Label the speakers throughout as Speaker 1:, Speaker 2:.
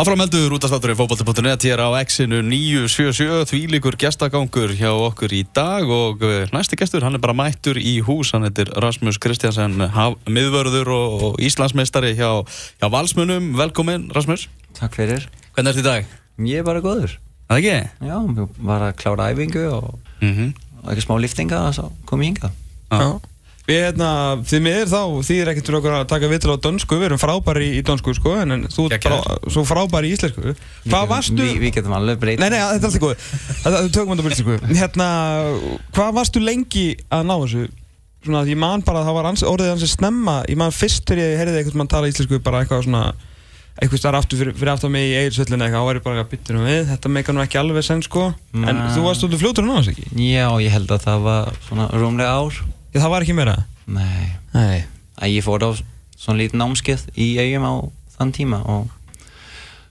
Speaker 1: Áframheldur útastátturinn fókbalti.net hér á X-inu 977 þvílikur gestagangur hjá okkur í dag og eh, næsti gestur hann er bara mættur í hús, hann heitir Rasmus Kristjansen haf- miðvörður og, og Íslandsmeistari hjá, hjá Valsmunum Velkomin Rasmus,
Speaker 2: Takk fyrir.
Speaker 1: hvernig ertu í dag?
Speaker 2: Ég er bara góður.
Speaker 1: Er Það ekki?
Speaker 2: Já, ég var að klára æfingu og,
Speaker 1: Mm -hmm.
Speaker 2: og ekki smá liftinga og svo kom ég hinga.
Speaker 3: Já. Við hérna, því miður þá, því er ekkert fyrir okkur að taka vitil á dönsku, við erum frábæri í dönsku sko, en, en þú ert
Speaker 1: Gekkjaður.
Speaker 3: bara svo frábæri í íslensku. Hvað varstu...
Speaker 2: Við, við getum alveg breytið.
Speaker 3: Nei, nei, þetta er alltaf góð. Þetta- Við tökum þetta byrjast sko. Hérna, hvað varstu lengi að ná þessu? Svona að ég man bara að það var ans, orðið hans snemma, ég man fyrst þegar ég heyrði einhvern mann tala íslensku bara eitthvað svona eitthvað starf aftur fyrir, fyrir aftur mig í eigilsvöllinu eitthvað, þá var ég bara að bytta um við, þetta meikar nú ekki alveg sen sko, en
Speaker 2: Nei.
Speaker 3: þú varst svolítið fljótur en annars ekki?
Speaker 2: Já, ég held að það var svona rúmlega ár.
Speaker 3: Já, það var ekki meira?
Speaker 2: Nei,
Speaker 3: Nei.
Speaker 2: að ég fór á svona lítið námskeið í eigum á þann tíma og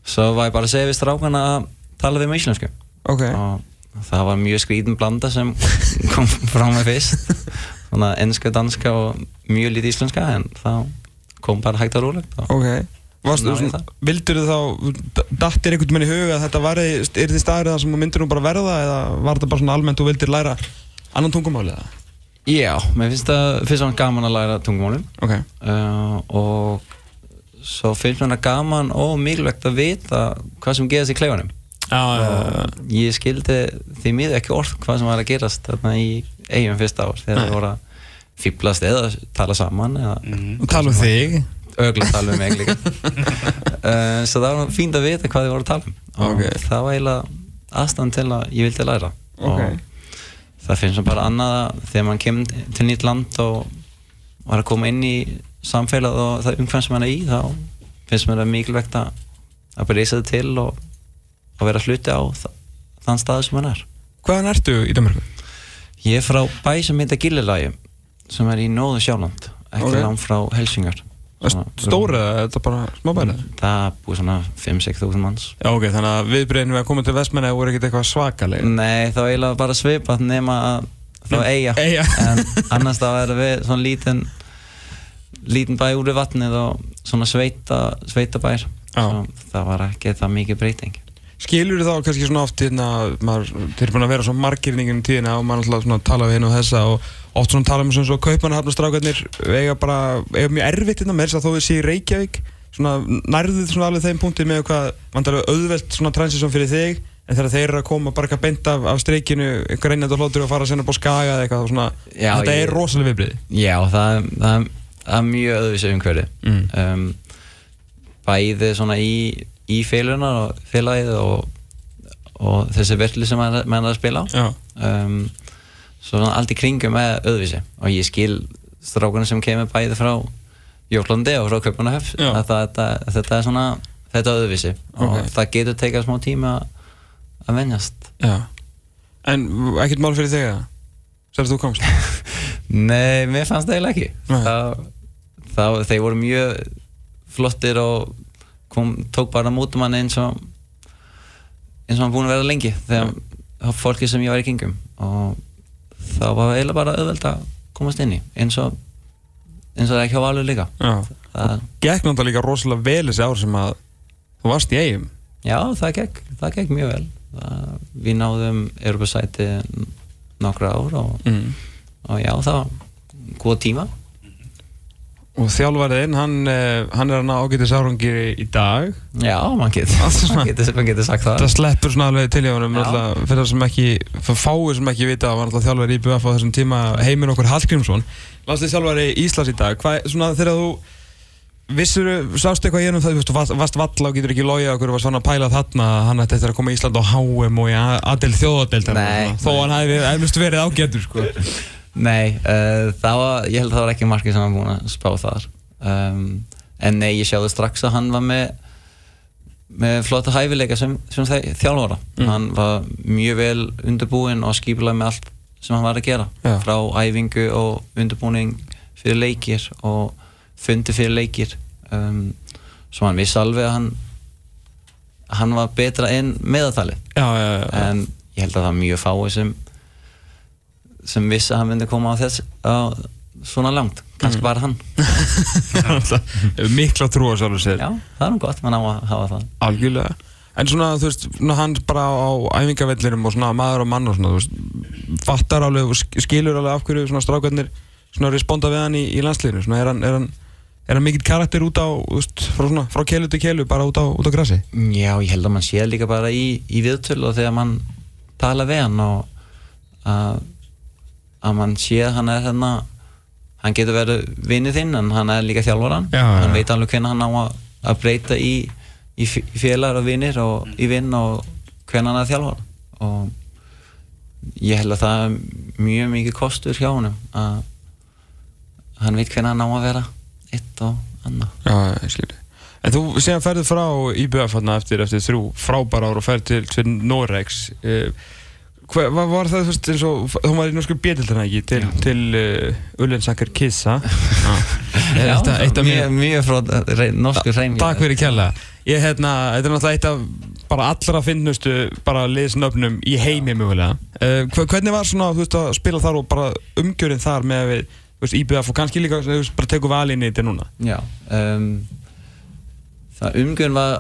Speaker 2: svo var ég bara að segja við strákana að tala við með íslensku.
Speaker 3: Ok.
Speaker 2: Og það var mjög skrítin blanda sem kom frá mig fyrst. Svona enska, danska og mjög lítið íslenska en þá kom bara hægt að rúlegt.
Speaker 3: Ok Varstu,
Speaker 2: Ná ég
Speaker 3: svona,
Speaker 2: það?
Speaker 3: vildur þú þá, dattir einhvern minn í huga að þetta var, er þið staðrið það sem þú myndir nú bara verða eða var þetta bara svona almennt þú vildir læra annan tungumáli eða?
Speaker 2: Já, mér finnst það fyrst og fremst gaman að læra tungumálum
Speaker 3: Ok,
Speaker 2: uh, og svo finnst mér það gaman og mikilvægt að vita hvað sem gerast í kleifanum
Speaker 3: já, já,
Speaker 2: og ég skildi því miður ekki orð hvað sem var að gerast þarna í eigum fyrsta ár þegar það voru að fýblast eða tala saman eða
Speaker 3: já Og tala um þig
Speaker 2: ögla tala um mig líka uh, svo það var fínt að vita hvað þið voru að tala um og
Speaker 3: Ok.
Speaker 2: það var eiginlega aðstand til að ég vildi læra
Speaker 3: Ok.
Speaker 2: og það finnst mér bara annað að þegar mann kemur til nýtt land og var að koma inn í samfélag og það umhverjum sem hann er í þá finnst mér það mikilvægt að að bara leysa það til og, og vera hluti á þa- þann stað sem hann er
Speaker 3: Hvaðan ertu í Danmarku?
Speaker 2: ég er frá bæ sem heita Gillilægi sem er í Nóðu Sjáland ekki
Speaker 3: Ok.
Speaker 2: okay. langt frá Helsingar
Speaker 3: Ah, Stóra eða er þetta bara smábæri?
Speaker 2: Mm. það búið svona 5-6 þúsund manns
Speaker 3: Já ok, þannig að viðbreyðinu við að koma til Vestmenni voru ekkert eitthvað svakaleg
Speaker 2: Nei, þá eiginlega bara svipað nema að þá eiga
Speaker 3: Eyja.
Speaker 2: en annars þá er við svona lítinn lítinn bæ úr við vatnið og svona sveita, sveita bær
Speaker 3: Já.
Speaker 2: það var ekki það mikið breyting
Speaker 3: Skilur þá kannski svona oft hérna, maður, þeir eru búin að vera svo margir í nýjum tíðina og maður alltaf svona tala við hinn og þessa og oft svona tala um svona svo kaupanahafnastrákarnir eiga bara, eiga mjög erfitt hérna með þess að þó við séu í Reykjavík svona nærðuð svona alveg þeim punktið með hvað vandarlega auðvelt svona transisjón fyrir þig en þegar þeir eru að koma bara eitthvað beint af, af streikinu, einhver reynjandi og hlótur og fara senna búið skaga eða eitthvað svona
Speaker 2: Já,
Speaker 3: þetta
Speaker 2: ég-
Speaker 3: er rosalega viðbrið
Speaker 2: Já, það, er- það, er- það er mjög öðruvísi umhverfi
Speaker 3: Mm.
Speaker 2: um, bæði svona í, í félunar og félagið og, og þessi verðli sem maður maður er að spila á
Speaker 3: Já.
Speaker 2: um, svo svona allt í kringum er öðruvísi og ég skil strákunum sem kemur bæði frá Jólandi og frá Kaupanahöf
Speaker 3: Já.
Speaker 2: að það, þetta, þetta er svona þetta er öðruvísi
Speaker 3: Ok.
Speaker 2: og það getur tekað smá tíma að venjast
Speaker 3: Já. En ekkert mál fyrir þig eða? Sér þú komst?
Speaker 2: Nei, mér fannst það eiginlega ekki
Speaker 3: Nei.
Speaker 2: það, það, Þeir voru mjög flottir og kom, tók bara mútum hann eins og eins og hann búin að vera lengi þegar ja. fólki sem ég var í kringum og það var eiginlega bara auðveld að komast inn í eins og eins og það er ekki á valur líka
Speaker 3: Já.
Speaker 2: það,
Speaker 3: gekk náttúrulega líka rosalega vel þessi ár sem að þú varst í eigum
Speaker 2: Já, það gekk, það gekk mjög vel það, Við náðum Europasæti nokkra ár og,
Speaker 3: mm.
Speaker 2: og já, það var góð tíma
Speaker 3: og þjálfariðinn, hann, eh, hann er hann ágætið sárungir í dag
Speaker 2: Já, mann getur, man getur, man getur sagt það
Speaker 3: það sleppur svona alveg til hjá honum
Speaker 2: Já.
Speaker 3: náttúrulega, fyrir það sem ekki, fyrir fáið sem ekki vita að var náttúrulega þjálfari í BF á þessum tíma heiminn okkur Hallgrímsson landslið þjálfari Íslands í dag hvað, svona þegar þú Vissur, sástu eitthvað í hennum það, þú veist, þú varst- varst valla og getur ekki logið okkur og var svona að pæla þarna að hann ætti eftir að koma í Ísland á HM og í Adel þjóðadeldar
Speaker 2: Nei,
Speaker 3: þó hann hefði eflust verið ágætur sko.
Speaker 2: Nei, uh, það var, ég held að það var ekki markið sem hann búin að spá þar um, En nei, ég sjáði strax að hann var með með flotta hæfileika sem, sem þe- þjálfara Hann var mjög vel undirbúinn og skipulega með allt sem hann var að gera
Speaker 3: Já.
Speaker 2: frá æfingu og undirbúning fyrir leikir og fundi fyrir leikir um, svo hann vissi alveg að hann hann var betra en meðatalið
Speaker 3: já, já, já, já.
Speaker 2: en ég held að það er mjög fáið sem sem vissi að hann myndi koma á þess á svona langt kannski bara hann
Speaker 3: mikla trú á sjálfur sér
Speaker 2: já, það er nú gott, mann á að hafa það
Speaker 3: algjörlega en svona þú veist, svona hann bara á æfingavellinum og svona maður og mann og svona þú veist, fattar alveg og sk- skilur alveg af hverju svona strákarnir svona responda við hann í, í landsliðinu svona er hann, er hann Er hann mikill karakter út á, þú veist, frá, svona, frá kelu til kelu, bara út á, út á grassi?
Speaker 2: Já, ég held að mann sé líka bara í, í viðtölu og þegar mann tala við hann og að, að mann sé að hann er þarna hann getur verið vinið þinn en hann er líka þjálfaran
Speaker 3: Já, já,
Speaker 2: hann
Speaker 3: já.
Speaker 2: veit alveg hvernig hann á að, að breyta í, í f- í félagar og vinir og í vinn og hvernig hann er þjálfar og ég held að það er mjög mikið kostur hjá honum að hann veit hvernig hann á að vera eitt og annað
Speaker 3: Já, ég skilji. En þú séðan ferðið frá IBF hérna eftir, eftir þrjú frábæra ár og ferð til, til Norex. Eh, Hvað var, var það, þú veist, eins og, hún var í norsku bjöldildina ekki, til, til uh, Ullensaker Kissa.
Speaker 2: Já,
Speaker 3: Þetta- eitt af
Speaker 2: mjög, mjög frá rey, norsku reyningu
Speaker 3: Takk fyrir kjalla. Ég, hérna, þetta er náttúrulega eitt af bara allra finnustu bara liðsnöfnum í heimi mögulega. Uh, hvernig var svona, þú veist, að spila þar og bara umgjörinn þar með við, þú veist, IBF og kannski líka, þú veist, bara tekur valinni þetta núna?
Speaker 2: Já um, Það umgjörn var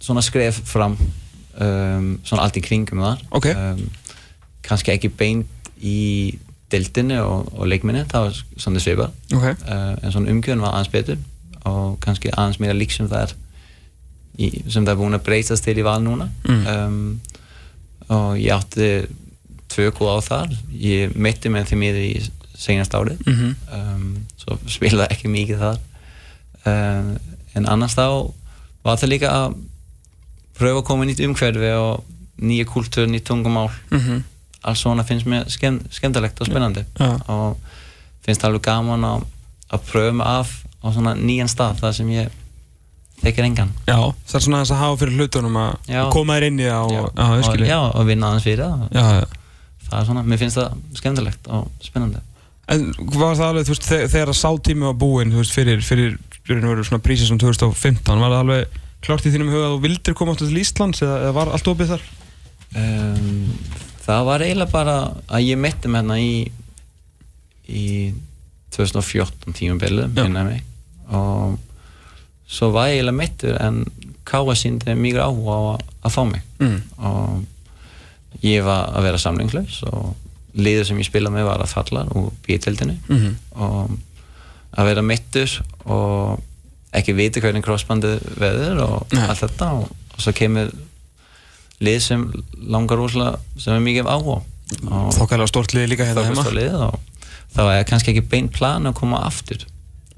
Speaker 2: svona skref fram um, svona allt í kringum þar
Speaker 3: Ok.
Speaker 2: um, kannski ekki beint í deildinni og, og leikminni það var svona svipað
Speaker 3: Ok.
Speaker 2: uh, en svona umgjörn var aðeins betur og kannski aðeins meira lík sem það er í, sem það er búin að breytast til í val núna
Speaker 3: Mm.
Speaker 2: um, og ég átti tvö góð á þar ég meitti með því miður í senast árið
Speaker 3: Mhm.
Speaker 2: um, svo spilaði ekki mikið þar um, en annars þá var það líka að pröfa að koma í nýtt umhverfi og nýja kultúr, nýtt tungumál
Speaker 3: Mhm.
Speaker 2: allt svona finnst mér skemm, skemmtilegt og spennandi
Speaker 3: Mm. Já.
Speaker 2: og finnst alveg gaman að, að pröfa mig af á svona nýjan stað þar sem ég tekir engan
Speaker 3: Já, það er svona þess að hafa fyrir hlutunum að
Speaker 2: Já.
Speaker 3: koma þér inn í það og, já, ég
Speaker 2: og,
Speaker 3: skilji.
Speaker 2: já, og vinna aðeins fyrir það
Speaker 3: já, já.
Speaker 2: það er svona, mér finnst það skemmtilegt og spennandi
Speaker 3: En var það alveg, þú veist, þe- þegar að sá tími var búinn, þú veist, fyrir, fyrir, fyrir, fyrir svona prísið sem 2015, var það alveg klárt í þínum huga að þú vildir koma áttu til Íslands eða, eða var allt opið þar?
Speaker 2: um, það var eiginlega bara að ég mitti með hérna í í 2014 tímabilið
Speaker 3: Já.
Speaker 2: minna mig og svo var ég eiginlega mittur en Káa síndi mjög áhuga á að, að fá mig
Speaker 3: Mm.
Speaker 2: og ég var að vera samlinglaus og liður sem ég spilaði með var að falla úr bíteldinu
Speaker 3: Mhm.
Speaker 2: og að vera mittur og ekki vita hvernig crossbandið veður og
Speaker 3: Nei.
Speaker 2: allt þetta og, og svo kemur lið sem langar úrslega sem er mikið af áhuga og
Speaker 3: Þá kallar stort liði líka hérna
Speaker 2: þókast
Speaker 3: heima.
Speaker 2: á lið og þá er kannski ekki beint plan að koma aftur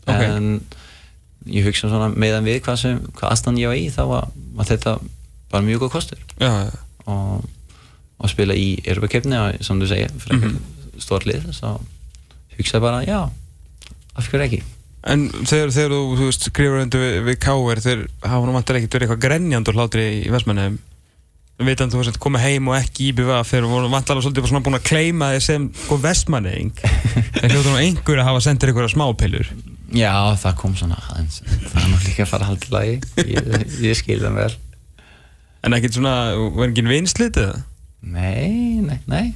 Speaker 3: Ok.
Speaker 2: en ég hugsa svona meðan við hvað, sem, hvað aðstand ég var í þá var, var þetta bara mjög góð kostur
Speaker 3: Já, já.
Speaker 2: og, og spila í erfakefni og sem þú segir, fyrir mm
Speaker 3: Mhm.
Speaker 2: stórt lið svo hugsaði bara, já af hverju ekki
Speaker 3: En þegar, þegar þú, þú veist, skrifur undir við, við K.R. þeir hafa nú vantar ekkert verið eitthvað grenjand og hlátri í, í Vestmannheim vitandi þú veist, komið heim og ekki í BVA þegar þú voru vantar alveg svolítið bara svona búin að kleima þig sem sko Vestmanneing þeir hljóta nú einhver að hafa sendir eitthvað smápillur
Speaker 2: Já, það kom svona aðeins það er nú líka að fara að halda í lagi ég, ég skil það vel
Speaker 3: en ekkert svona, var enginn vinslið eða?
Speaker 2: Nei, nei, nei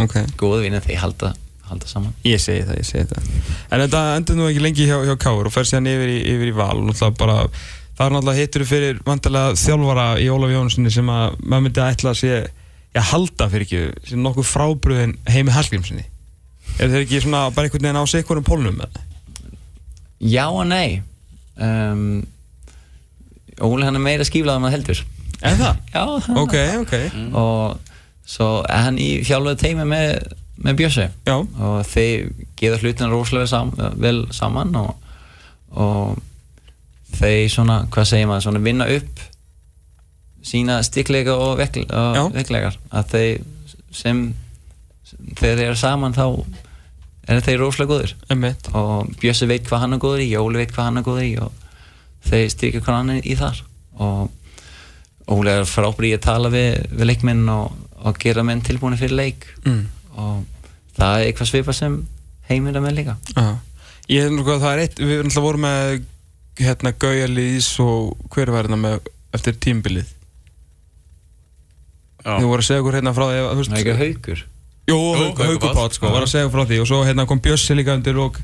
Speaker 3: Ok,
Speaker 2: góð vinna þegar halda, halda saman
Speaker 3: ég segi það, ég segi það en þetta endur nú ekki lengi hjá, hjá K.R. og fer síðan yfir í, yfir í val og náttúrulega bara það er náttúrulega hittur fyrir vantarlega þjálfara í Ólaf Jónssoni sem að maður myndi að ætla að sé já, halda fyrir ekki, sem nokkuð frábröðin heimi Hallgrímssoni er þeir ekki svona bara einhvern veginn á sig einhvern pólnum eða?
Speaker 2: Já og nei um, Óli hann er meira skíflaðan að heldur
Speaker 3: Er það?
Speaker 2: Já, það
Speaker 3: ok, ok,
Speaker 2: og svo er hann í fjálflega teimi með, með Bjössi
Speaker 3: já
Speaker 2: og þeir geða hlutin rosalega sam, vel saman og, og þeir svona, hvað segir maður, svona vinna upp sína stikkleika og, vekl,
Speaker 3: Já.
Speaker 2: og veikleikar að þeir sem þegar þeir eru saman þá er þeir rosalega góðir
Speaker 3: emmitt
Speaker 2: og Bjössi veit hvað hann er góður í Óli veit hvað hann er góður í og þeir styrkja hvað hann er í þar og Óli er frábæri í að tala við, við leikminn og, og gera menn tilbúinu fyrir leik
Speaker 3: Mm.
Speaker 2: og það er eitthvað svipa sem heimir að með líka
Speaker 3: Já. Ég hef náttúrulega, það er eitt, við náttúrulega vorum með hérna Gauja Lýs og hver var hérna með eftir tímbilið Þið voru að segja okkur hérna frá því að, þú veist-
Speaker 2: Það er ekki haukur
Speaker 3: Jú,
Speaker 1: Jú,
Speaker 3: Hauku-
Speaker 1: Haukur
Speaker 3: Haukur
Speaker 1: Páll,
Speaker 3: Páll sko,
Speaker 1: já.
Speaker 3: var að segja frá því og svo hérna kom Bjössi líka undir og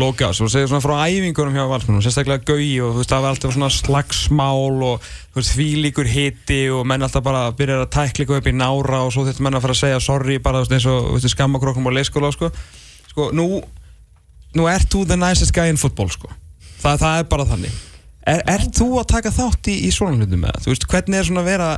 Speaker 3: Lóki á þessu og segja svona frá æfingunum hjá valsmennum, sérstaklega Gaui og þú veist það var alltaf svona slagsmál og þú veist þvílíkur hiti og menn alltaf bara byrjar að tækla ykkur upp í nára og svo þetta menn að fara að segja sorry bara þú veist, eins og þú veist, skammakrokkum og leyskóla sko. sko, nú nú ert þú the nicest guy in football sko. Þa, það er bara þannig er, ert þú að taka þátt í, í svona hlutum með það? Þú veist, hvernig er svona að vera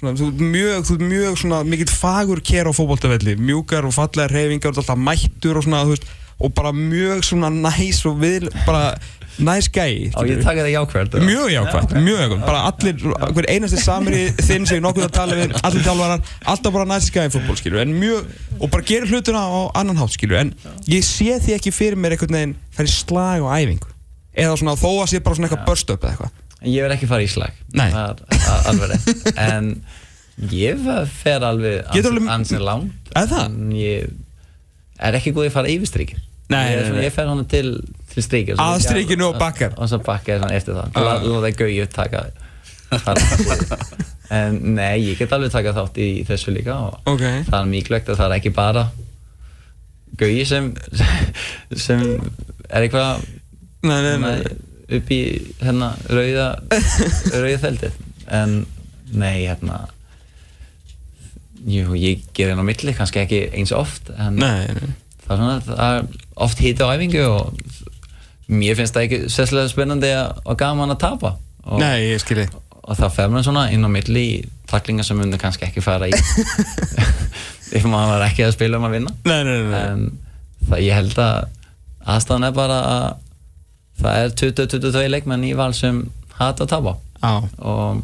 Speaker 3: svona, þú ert mjög, þú ert mjög svona mikill fagur kér á fótboltavelli mjúkar og fallegar reyfingar, alltaf mættur og svona, þú veist, og bara mjög svona næs og vil, bara næs gæi
Speaker 2: Á ég taka það jákvært eða?
Speaker 3: Mjög jákvæmt, mjög jákvæmt, bara allir, hver einasti samir í þinn sem ég nokkuð að tala við, allir tjálvarar, alltaf bara næst skæði fútból, skilur, en mjög, og bara gerir hlutina á annan hátt, skilur, en ég sé því ekki fyrir mér einhvern veginn fær í slag og æfingu, eða svona þó að sé bara svona eitthvað börst upp eða eitthvað.
Speaker 2: Ég verð ekki fara í slag
Speaker 3: Nei.
Speaker 2: Það er a- alveg rétt En ég fer alveg
Speaker 3: Getur
Speaker 2: ansi-
Speaker 3: alveg-
Speaker 2: ansi langt
Speaker 3: Er það?
Speaker 2: En ég er ekki góð í að fara yfir strikin
Speaker 3: Nei,
Speaker 2: ég, er
Speaker 3: nei,
Speaker 2: svona-
Speaker 3: nei.
Speaker 2: ég fer honum til, til strikin
Speaker 3: Að strikinu og bakkar. Ah.
Speaker 2: Og svo bakkar svona eftir það Lá- Láta það gauði taka þar. En nei, ég get alveg taka þátt í þessu líka og
Speaker 3: Ok.
Speaker 2: Það er mikilvægt að það er ekki bara gauði sem, sem er eitthvað
Speaker 3: Nei, nei, nei,
Speaker 2: Nei, upp í hérna rauða rauða þeldið en nei hérna jú, ég ger hérna á milli kannski ekki eins oft en
Speaker 3: nei, nei,
Speaker 2: það er svona það er oft hýta á æfingu og mér finnst það ekki sesslega spennandi og og gaman að tapa og,
Speaker 3: nei, ég skilji.
Speaker 2: og það fer maður svona inn á milli í taklingar sem munir kannski ekki fara í ef maður var ekki að spila um að vinna
Speaker 3: Nei, nei, nei, nei.
Speaker 2: en það ég held að aðstæðan er bara að það er 20-22 leikmenn í val sem hata að tapa
Speaker 3: Á,
Speaker 2: og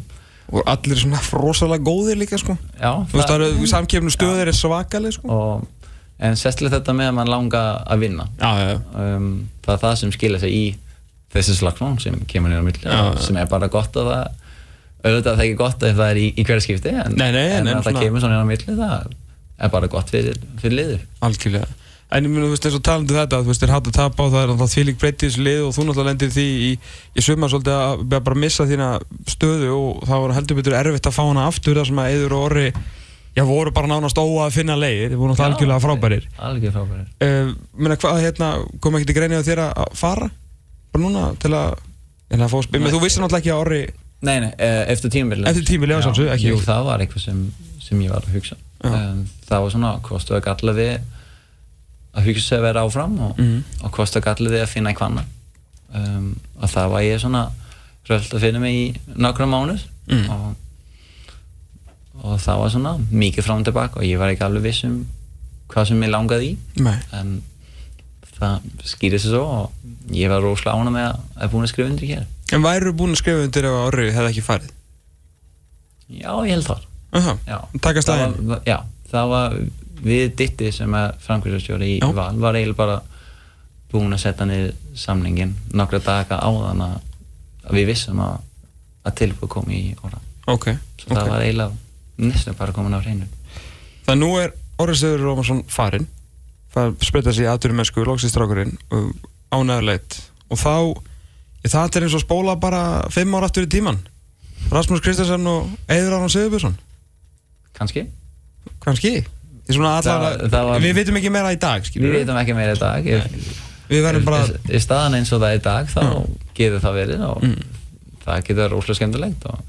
Speaker 3: og allir svona rosalega góðir líka, sko.
Speaker 2: já
Speaker 3: Þú veist, það eru samkefnu stöðir er svakaleg, sko.
Speaker 2: og, en sérstilega þetta með að mann langa að vinna
Speaker 3: Já, já, já.
Speaker 2: um, það er það sem skilja sig í þessi slagsmál sem kemur nýra milli
Speaker 3: Já, já.
Speaker 2: sem er bara gott að það auðvitað er það ekki gott ef það er í, í hverja skipti en,
Speaker 3: Nei, nei,
Speaker 2: en
Speaker 3: nei,
Speaker 2: að það
Speaker 3: svona-
Speaker 2: kemur svona nýra milli það er bara gott fyrir, fyrir liður
Speaker 3: Algjörlega En ég mun, þú veist, eins og talandi um þetta, þú veist, er hægt að tapa og það er alltaf þvílík breytið í þessu lið og þú náttúrulega lendir því í, í sumar svolítið að að bara missa þína stöðu og það var heldur betur erfitt að fá hana aftur þar sem að Eður og Orri, já, voru bara nánast óa að finna leiðir, þeir voru náttúrulega algjörlega frábærir.
Speaker 2: algjörlega frábærir
Speaker 3: Uh, Menna, hvað, hérna, kom ekki til greinu á þér að fara? Bara núna til að, en að fá spil, menn þú vissir náttúrulega ekki að Orri,
Speaker 2: Nei, nei, eh, eftir tímabilið
Speaker 3: Eftir tímabilið, já, sjálfsögðu, ekki-
Speaker 2: Jú, það var eitthvað sem, sem ég var að hugsa
Speaker 3: Já.
Speaker 2: um, Það var svona, kostu að galla við að hugsa að vera áfram og,
Speaker 3: Mhm.
Speaker 2: og kostu að galla við að finna eitthvað annað um, og það var ég svona rölt að finna mig í nokkra mánuð
Speaker 3: Mm.
Speaker 2: og, og það var svona mikið fram og tilbaka og ég var ekki alveg viss um hvað sem ég langaði í
Speaker 3: nei,
Speaker 2: en það skýrði sig svo og ég var rosalega ána með að, að búin að skrifa undir hér
Speaker 3: en væru búin að skrifa undir ef að Orri hefði ekki farið?
Speaker 2: Já, ég held það
Speaker 3: Aha,
Speaker 2: Já.
Speaker 3: taka
Speaker 2: Það
Speaker 3: slæðin.
Speaker 2: var- Já, það var við Ditti sem er framkvæmstjóri í
Speaker 3: Já.
Speaker 2: Val var eiginlega bara búin að setja niður samningin nokkra daga áðan að að við vissum að, að tilbúið kom í orða
Speaker 3: Ok,
Speaker 2: svo það
Speaker 3: ok.
Speaker 2: var eiginlega næstum bara komin á hreinu
Speaker 3: Það nú er Orri Sigur Rómarsson farinn það spreyta sig í aðturumennsku loksistrákurinn ánæðurleitt og þá ég, það er eins og spóla bara fimm ára aftur í tíman Rasmus Kristjansson og Eður Aron Sigurbjörnsson
Speaker 2: kannski
Speaker 3: kannski Ég svona allavega-
Speaker 2: Það- það var-
Speaker 3: við vitum ekki meira í dag
Speaker 2: við
Speaker 3: skilurðu.
Speaker 2: veitum ekki meira í dag ef,
Speaker 3: við verðum bara
Speaker 2: ef, ef staðan eins og það er í dag þá getur það verið og
Speaker 3: Mm.
Speaker 2: það getur rosalega skemmtilegt og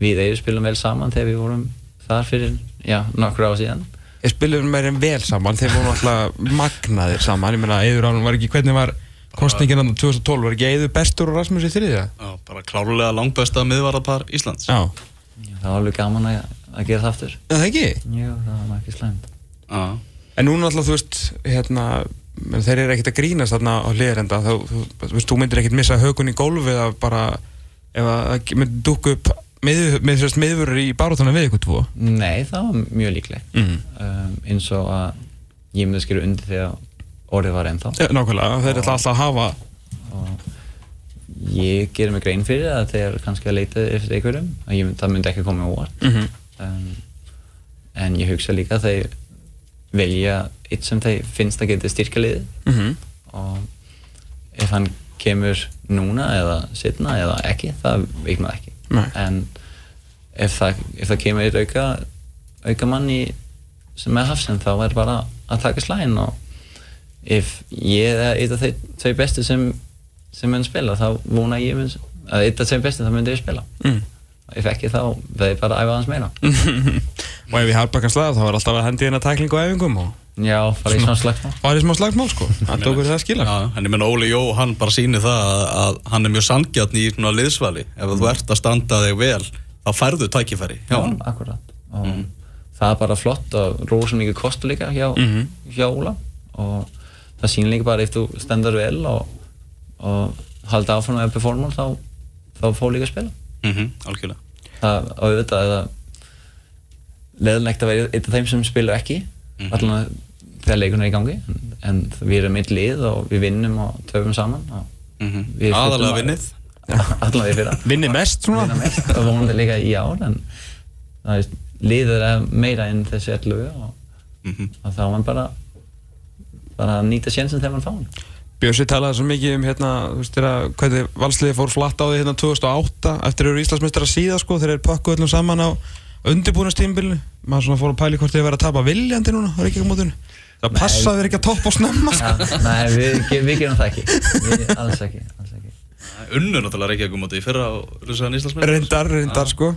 Speaker 2: við eigum spilum vel saman þegar við vorum þar fyrir já, nokkru á síðan
Speaker 3: ég spilum meira en vel saman þeir voru alltaf magnaðir saman ég meina Eður Aron var ekki hvernig var kostningin hann 2012 var ekki Eður bestur og Rasmus í þriðja
Speaker 1: Já, bara klárlega langbesta miðvarðarpar Íslands.
Speaker 3: já
Speaker 2: Já, það var alveg gaman að, að gera það aftur.
Speaker 3: Er það ekki
Speaker 2: Jú, það var ekki slæmt.
Speaker 1: Já.
Speaker 3: En núna alltaf, þú veist, hérna, menn, þeir eru ekkert að grínast þarna á liðrenda, þá, þú, þú veist, þú myndir ekkert missa hökun í gólfið að bara, ef að það myndir dukka upp með, með sérst meðvörur í barótana við ykkur tvo.
Speaker 2: Nei, það var mjög líklegt.
Speaker 3: Mm.
Speaker 2: Um, eins og að ég myndi skrifa undir þegar orðið var ennþá.
Speaker 3: Ja, nákvæmlega, þeir ætla alltaf að hafa,
Speaker 2: Og ég ger mig grein fyrir að þeir kannski að leita eftir einhverjum. að Ég, það myndi ekki koma í óvart.
Speaker 3: Mhm.
Speaker 2: um, en ég hugsa líka að þeir velja eitt sem þeir finnst að geta styrka liðið.
Speaker 3: mm
Speaker 2: og ef hann kemur núna eða setna eða ekki, það veit maður ekki
Speaker 3: Nei.
Speaker 2: en ef það, ef það kemur eitt auka, auka manni sem er hafsinn þá er bara að taka slæðin og ef ég eða einn af þeir tvei bestu sem, sem mun spila þá vona ég mun, að einn af þeir bestu þá myndi ég spila mm. ef ekki þá verði ég bara að æfa aðeins meira
Speaker 3: og ef ég harpa kannski slag þá var alltaf að hendi hérna tækling og æfingum og
Speaker 2: já, fara í svona slagt
Speaker 3: og það er smá slagsmál sko það tók verið það skila
Speaker 1: Já, en ég menn Óli Jó, hann bara sýnir það að, að hann er mjög sangjarn í svona liðsvali ef þú ert að standa þig vel þá færðu tækifæri hjá hann
Speaker 2: akkurat og það er bara flott og rosa mikið kostu líka hjá, hjá Óla og það sýnir líka bara ef þú stendur vel og, og halda áfram að performa þá, þá fór líka að spila
Speaker 1: mm algjörlega
Speaker 2: það, og auðvitað er það leðilegt að vera eitt af þeim sem spila ekki mm allan þegar leikunum er í gangi en, en við erum eitt lið og við vinnum og töfum saman og
Speaker 1: mm
Speaker 2: við
Speaker 1: aðalega
Speaker 2: fullum-
Speaker 1: vinnið
Speaker 2: allan við fyrra
Speaker 3: vinni mest
Speaker 2: vinna
Speaker 3: svona
Speaker 2: mest og vonandi líka í ár en það er liður að meira en þessi allu og, og þá er mann bara bara að nýta sjensin þegar mann fá hann
Speaker 3: Björsi talaði svo mikið um hérna, þú veist, þeirra, hvernig valsliði fór flatt á því hérna 2008 eftir að eru Íslandsmeistrar síða sko, þeir eru pökkuð öllum saman á undirbúinastímbilinu maður svona fór að pæli hvort þeir verið að tapa viljandi núna á Reykjavíkumótinu það passaði þeir ekki að toppa og snemma sko.
Speaker 2: ja, nei, við, ge- við gerum það ekki við, alls ekki, alls ekki.
Speaker 1: unnur náttúrulega Reykjavík um átti í fyrra og Rússaðan Íslandsmeistar.
Speaker 3: reyndar, reyndar sko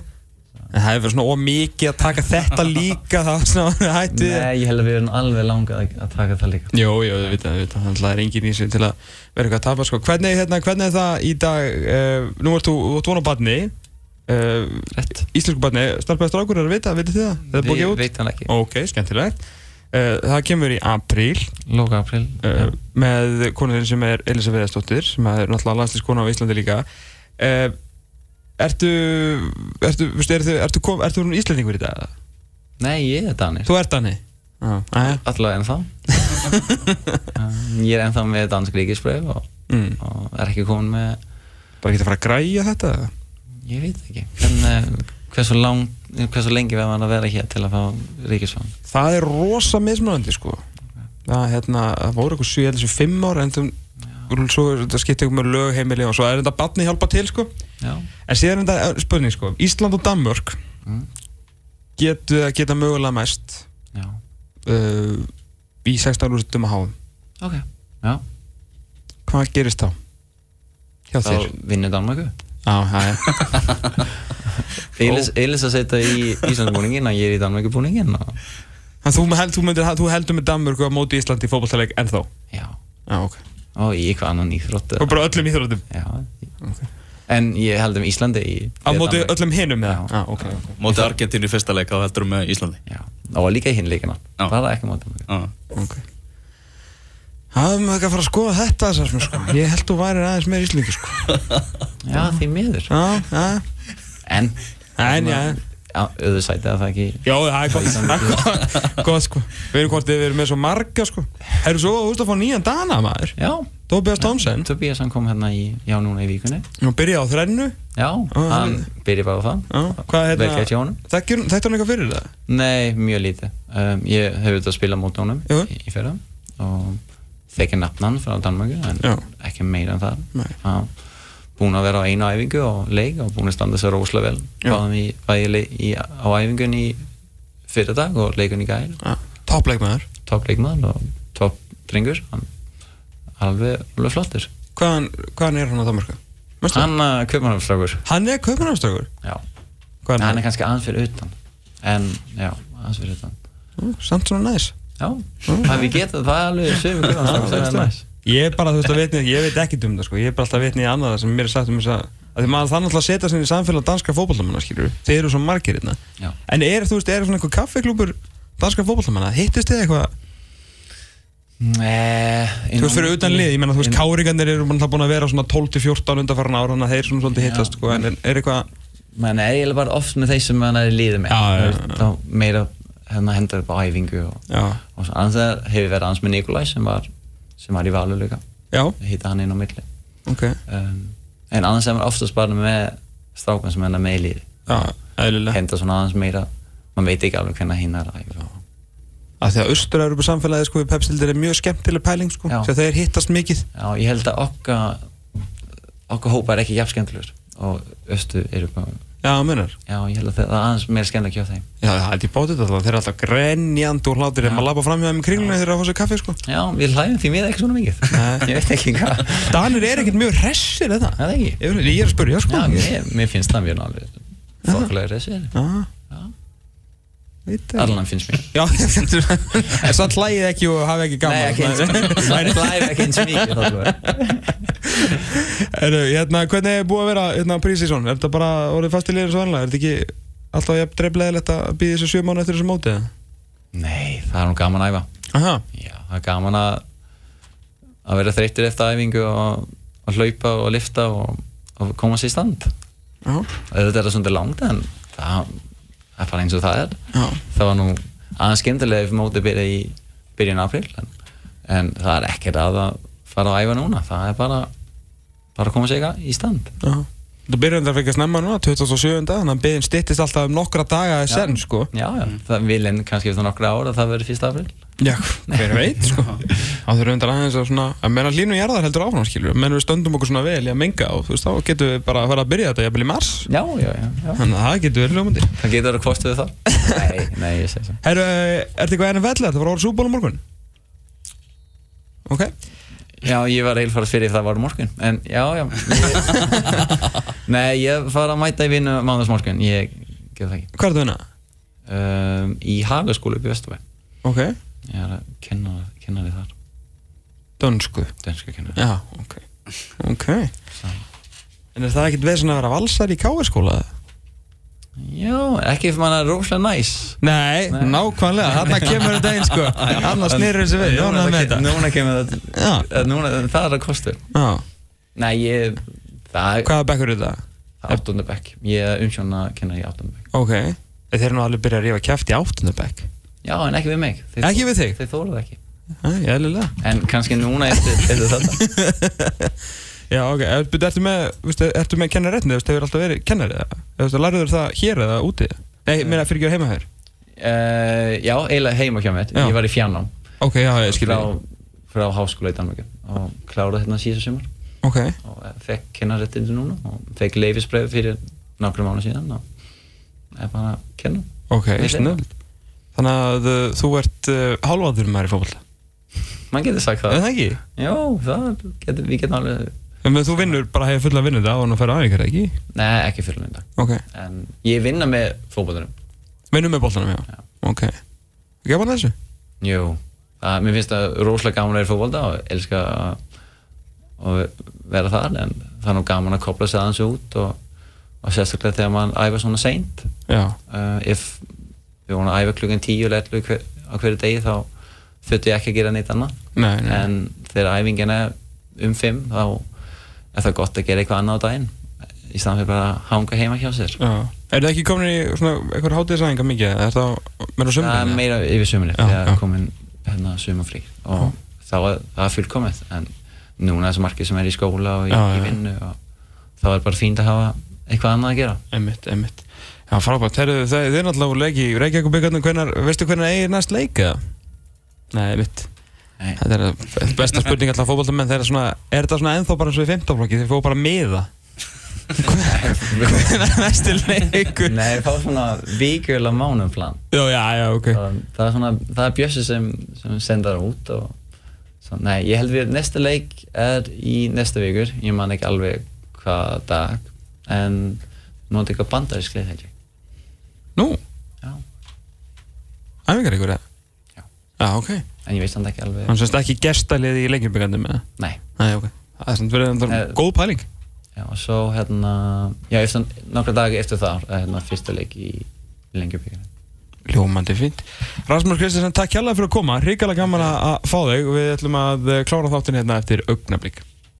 Speaker 3: en það hefur verið svona ómikið að taka þetta líka það var svona hætti
Speaker 2: nei, ég held að við erum alveg langað að, að taka það líka
Speaker 3: Jó, jó, við veitum, við veitum, þannig að það er engin í sig til að vera eitthvað að tapa sko. hvernig, hérna, hvernig er það í dag uh, nú ert þú, þú ert von á badni uh,
Speaker 2: Rétt.
Speaker 3: íslensku badni, starfbæðist rákur er að vita, vitið þið það? Það er
Speaker 2: við
Speaker 3: búið að gefa út?
Speaker 2: veitum hann ekki
Speaker 3: Ok, skemmtilegt uh, það kemur í apríl
Speaker 2: Lóka april
Speaker 3: uh, með konurinn sem er Elisa Veðastóttir sem er náttúrulega landslískona á Íslandi líka uh, ertu ertu, veistu, ertu, ertu, kom, ertu hún íslendingur í dag? eða?
Speaker 2: Nei, ég er danir
Speaker 3: Þú ert danni? Já, ah,
Speaker 2: Allavega ennþá Um, Ég er ennþá með dansk ríkisbröf og,
Speaker 3: mm.
Speaker 2: og er ekki komin með
Speaker 3: bara geta að fara að græja þetta eða?
Speaker 2: Ég veit ekki Hvern, hversu, lang, hversu lengi verður maður að vera hér til að fá ríkisfang
Speaker 3: Það er rosa mismunandi sko Það, hérna, það voru eitthvað 7 eða 5 ár en þú, svo er þetta skipti ykkur með lögheimili og svo er þetta batni hjálpa til sko
Speaker 2: Já,
Speaker 3: En síðan er þetta eh, spurning sko Ísland og Danmörk
Speaker 2: Mm.
Speaker 3: getu, geta mögulega mæst
Speaker 2: já,
Speaker 3: uh, í 16 úrstum að háum
Speaker 2: ok Já,
Speaker 3: Hvað gerist þá? Hjá
Speaker 2: þá
Speaker 3: þér?
Speaker 2: vinnur Danmarku
Speaker 3: Já, það er
Speaker 2: Elis, Elis að setja í Íslandbúningin og ég er í Danmarkubúningin og...
Speaker 3: En Þú, held, þú, myndir, þú heldur með Danmörku að móti Ísland í fótballtaleik ennþá
Speaker 2: Já,
Speaker 3: Já, ok
Speaker 2: og í eitthvað annan íþrótt
Speaker 3: Og bara öllum íþróttum
Speaker 2: Já, en ég held um Íslandi í
Speaker 3: Á
Speaker 2: við
Speaker 3: móti
Speaker 2: Danmörku.
Speaker 3: öllum hinum með það
Speaker 2: Já.
Speaker 3: Já, ok, ok
Speaker 1: móti Argentínu í fyrsta leik þá heldur um með Íslandi
Speaker 2: Já, og líka í hinn leikina
Speaker 1: Já.
Speaker 2: Bara ekki móti
Speaker 1: Já.
Speaker 2: Danmarku
Speaker 3: Ok Það er maður ekki að fara að skoða þetta Sarsmur, sko. Ég held þú værir aðeins meir íslingi sko.
Speaker 2: Já, því miður
Speaker 3: Já, já
Speaker 2: En Hérna,
Speaker 3: En, já.
Speaker 2: Já, auðvitað sæti að það ekki
Speaker 3: Já, það er gott Það er gott- Gott sko Við erum hvort við erum með svo marga sko Erum svo úrst að fá nýjan dana maður
Speaker 2: Já,
Speaker 3: Tobias Thompson
Speaker 2: Tobias hann kom hérna í, já núna í vikunni
Speaker 3: Nú byrja á þrennu
Speaker 2: Já, hann byrja bara á það
Speaker 3: Já, hvað er
Speaker 2: Vel gert hjá honum.
Speaker 3: Þekkir þetta hann eitthvað fyrir það?
Speaker 2: hérna- Nei, mjög lítið um, Ég hef auðvitað að spila mót honum
Speaker 3: Jú.
Speaker 2: í, í fyrra og þekki nafnan frá Danmarku en
Speaker 3: Já.
Speaker 2: ekki meira en það
Speaker 3: Nei.
Speaker 2: Já, Búin að vera á einu æfingu og leik og búin að standa sér óslega vel
Speaker 3: Já.
Speaker 2: Báðum í, bæði le- í, á æfingun í fyrra dag og leikun í gæl
Speaker 3: Já, toppleik maður
Speaker 2: topp leikmaður og topp drengur hann, alveg, alveg flottur
Speaker 3: Hvaðan, hvaðan er hann á Danmarku? Mestu?
Speaker 2: Hann uh, kaupmannafstrákur
Speaker 3: Hann er kaupanarstökur
Speaker 2: Já,
Speaker 3: Hvað
Speaker 2: hann
Speaker 3: er
Speaker 2: er
Speaker 3: hann?
Speaker 2: kannski aðeins fyrir utan En, já, aðeins fyrir utan
Speaker 3: Ú, Samt svona næs
Speaker 2: Já,
Speaker 3: Mm.
Speaker 2: það við getum það er alveg sömu kaupmannafstrákur Það er næs
Speaker 3: Ég er bara, þú veist, að vitni, ég veit ekki um það, sko, ég er bara alltaf að vitni í annað sem mér er sagt um þess að, að því maður þannig að setja sinni í samfélag danska fótballtamanna, skilur þið eru svo margir hérna.
Speaker 2: Já.
Speaker 3: En er, þú veist, er svona einhver kaffiklúpur danska fótballtamanna, hittist þið eitthvað, þú veist, fyrir utan lið, ég menna, þú veist, káringarnir eru alltaf búin að vera svona 12-14 undarfaran ára, þannig að þeir svona svolítið hittast, sko, en er, er eitthvað,
Speaker 2: Man er eiginlega bara oft með þeir sem hann er í liði með
Speaker 3: Já, já, já,
Speaker 2: Þá meira hennar hendur upp á æfingu og,
Speaker 3: já,
Speaker 2: og svo annars er- hefur verið aðeins með Nikolaj sem var, sem var í valuleika
Speaker 3: já,
Speaker 2: Hitta hann inn á milli
Speaker 3: ok,
Speaker 2: um, En annars er maður oftast bara með strákan sem hennar með í liði
Speaker 3: já, eðlilega.
Speaker 2: Henda svona aðeins meira Man veit ekki alveg hvernig hinn er að æfa
Speaker 3: Af því að austur-európa samfélagið, sko, við pepsildir er mjög skemmtileg pæling, sko,
Speaker 2: Já.
Speaker 3: því að þeir hittast mikið.
Speaker 2: Já, ég held að okkar okkar hópa er ekki jafn skemmtilegur og östu eru bara
Speaker 3: Já, munar
Speaker 2: Já, ég held að það er aðeins meira skemmt að kjóða þeim
Speaker 3: Já, það held ég bótið þetta alltaf, þeir eru alltaf grenjandi og hlátir ef maður labba fram hjá þeim í kringlunni þegar þeir eru að fá sér kaffi, sko
Speaker 2: Já, við hlæðum því miða ekki svona mikið
Speaker 3: Nei.
Speaker 2: Ég veit ekki hvað Já,
Speaker 3: Danir er ekkert mjög hressir, eða?
Speaker 2: Það er ekki.
Speaker 3: Ég, ég er að spyrja, sko
Speaker 2: mér, mér finnst það mjög nálega Þokkulega reysið
Speaker 3: Já,
Speaker 2: Já.
Speaker 3: veit það
Speaker 2: Allan finnst mér
Speaker 3: Já, en samt hlægið ekki og hafið ekki gaman
Speaker 2: Nei, ekki eins
Speaker 3: Nei,
Speaker 2: Það hlæðum ekki eins mikið þokkulega
Speaker 3: Heru, hérna, hvernig er búið að vera hérna, prísísón? Er þetta bara orðið fast í liður svo annað? Er þetta ekki alltaf jafn dreiflegilegt að býða þessu sjö mánu eftir þessu móti? eða?
Speaker 2: Nei, það er nú gaman að æfa
Speaker 3: Aha,
Speaker 2: Já, það er gaman að að vera þreyttur eftir æfingu og, og hlaupa og lifta og, og koma sér í stand
Speaker 3: já,
Speaker 2: Þetta er það svona langt en það það er bara eins og það er
Speaker 3: já,
Speaker 2: það var nú aðeins skemmtilega ef mótið byrja í byrjun april en, en það er ekkert að að fara að æfa núna það er bara, bara að koma sér í stand
Speaker 3: já. Þú byrjar þetta að fika snemma núna, 27. Þannig að byðin styttist alltaf um nokkra daga í senn, sko.
Speaker 2: já, já, það vil en kannski eftir nokkra ára það verður fyrst april
Speaker 3: Já, hver veit, sko. Það þurfum þetta aðeins að svona, að menna hlínum jarðar heldur áfram, skilur. Menn við stöndum okkur svona vel í að menga og þú veist, þá getum við bara að fara að byrja þetta jafnvel í mars.
Speaker 2: já, já, já, já.
Speaker 3: Þannig að það getur verið hljómandi.
Speaker 2: það getur að kvostu þið þar nei, nei, ég segi svo
Speaker 3: Herru, ertu eitthvað enn vellið? Það var orðið súból á morgun? Ok.
Speaker 2: já, ég var eilfarað fyrir það var morgun en já, já ég, nei, ég fara að mæta í vinnu mándagsmorgun ég get það ekki
Speaker 3: Hvað er það vinna?
Speaker 2: um, í Hagaskólu upp í Vesturbæ
Speaker 3: Ok.
Speaker 2: ég er að kenna, kenna við þar
Speaker 3: Dönsku.
Speaker 2: dönska kenna
Speaker 3: Já, ok. Ok. En er það ekkert veginn að vera valsar í káaskóla?
Speaker 2: Já, ekki fyrir mann að róslega næs
Speaker 3: Nei,
Speaker 2: Nei.
Speaker 3: nákvæmlega. Hanna kemur þetta einn sko. Hanna snýrur þessu við.
Speaker 2: Núna,
Speaker 3: Jóna með
Speaker 2: ke-
Speaker 3: þetta.
Speaker 2: núna kemur það
Speaker 3: Já.
Speaker 2: að núna, Það er að kostu
Speaker 3: Já.
Speaker 2: Nei, ég, það er
Speaker 3: Hvaða bekkur er þetta?
Speaker 2: áttunda bekk Ég er umsjóna kennar í áttunda bekk
Speaker 3: Ok. Þeir eru nú alveg byrjað að rífa kæft í áttundabekk.
Speaker 2: Já, en ekki við mig þeir,
Speaker 3: Ekki við þig?
Speaker 2: Þeir þóla það ekki
Speaker 3: Já, eðlilega.
Speaker 2: En kannski núna eftir, eftir þetta
Speaker 3: Já, ok. Er, byrju, ertu með, veist, ertu með kennarétni? Þú veist, hefur alltaf verið kennari eða? Þú veist, lærður það hér eða úti? Nei, mér að fyrir ekki heima hér.
Speaker 2: uh, Já, eiginlega heima hjá mér
Speaker 3: Já.
Speaker 2: Ég var í fjánám
Speaker 3: Ok, já, ég skil
Speaker 2: frá,
Speaker 3: ég.
Speaker 2: frá háskóla í Danmarku Og kláraði hérna síðan sumar
Speaker 3: Ok,
Speaker 2: og eh, fekk kennarréttindi núna og fekk leifisbreið fyrir nokkru mánu síðan og er bara að kenna
Speaker 3: ok,
Speaker 2: Við hliðina.
Speaker 3: snöld Þannig að uh, þú ert uh, hálfaður maður í fótbolta
Speaker 2: mann getur sagt
Speaker 3: Er
Speaker 2: það
Speaker 3: það ekki?
Speaker 2: já, það getur, við getum alveg
Speaker 3: En þú vinnur bara hefur fulla vinnu þetta á hann að færa aðeinkar, ekki?
Speaker 2: nei, ekki fyrir mynda
Speaker 3: Ok,
Speaker 2: en ég vinna með fótboltunum
Speaker 3: vinnur með boltanum, já,
Speaker 2: Já.
Speaker 3: Ok, gaman þessu?
Speaker 2: jú, það, mér finnst það róslega gaman að vera í fótbolta og elska að að vera þar en það er nú gaman að kopla sig aðeins út og, og sérstaklega þegar mann æfa svona seint
Speaker 3: Já,
Speaker 2: uh, ef við vorum að æfa klukkan 10 og letlu hver, á hverju degi þá þurftu ég ekki að gera neitt annað
Speaker 3: nei, nei
Speaker 2: en þegar æfingin er um 5 þá er það gott að gera eitthvað annað á daginn í staðan fyrir bara að hanga heima hjá sér
Speaker 3: Já, er það ekki komin í svona eitthvað hátíðsæðinga mikið? eða
Speaker 2: það
Speaker 3: Er það meira á
Speaker 2: er
Speaker 3: sömurinn?
Speaker 2: meira yfir sömurinn
Speaker 3: Já,
Speaker 2: þegar
Speaker 3: já.
Speaker 2: komin hérna sömurfrí og
Speaker 3: Já.
Speaker 2: þá er það er fullkomið en núna er þessi markið sem er í skóla og í,
Speaker 3: Já, já.
Speaker 2: í vinnu og þá er bara fínt að hafa eitthvað annað að gera
Speaker 3: Einmitt, einmitt Já, frábært, Heru, það, þið er náttúrulega úr leiki Reykjavík og byggjarnir, hvernar, veistu hvernar eigir næst leika? Nei, einmitt
Speaker 2: Nei.
Speaker 3: Þetta er að- besta spurning alltaf fótboltamenn þegar svona, er þetta svona ennþá bara eins og í 15 flokki þeir fóðu bara miða Hvernig er næsti leikur?
Speaker 2: Nei, þá svona vikulega mánum plan
Speaker 3: Já, já, já, ok
Speaker 2: það, það er svona, það er Bjössi sem, sem sendar út og svo, nei, ég held við næsta leik er í næsta vikur, ég man ekki alveg hvað dag, en nú er þetta eitthvað bandarisk leik held ég
Speaker 3: Nú,
Speaker 2: já,
Speaker 3: æfingar ykkur eða?
Speaker 2: Já.
Speaker 3: Já, ok
Speaker 2: en ég veist hann ekki alveg
Speaker 3: Hann semst ekki gestalið í leikjumbyggjandum eða?
Speaker 2: nei,
Speaker 3: Nei, ok Það er samt verið
Speaker 2: Eh,
Speaker 3: endur góð pæling
Speaker 2: já, og svo hérna já, eftir, nokkra dagi eftir það er hérna fyrsta leik í lengjubíkina
Speaker 3: Ljómandi fínt Rasmus Kristjánsson, takk hjálpa fyrir að koma Ríkala gaman að að fá þig Við ætlum að eh, klára þáttinn hérna eftir augnablík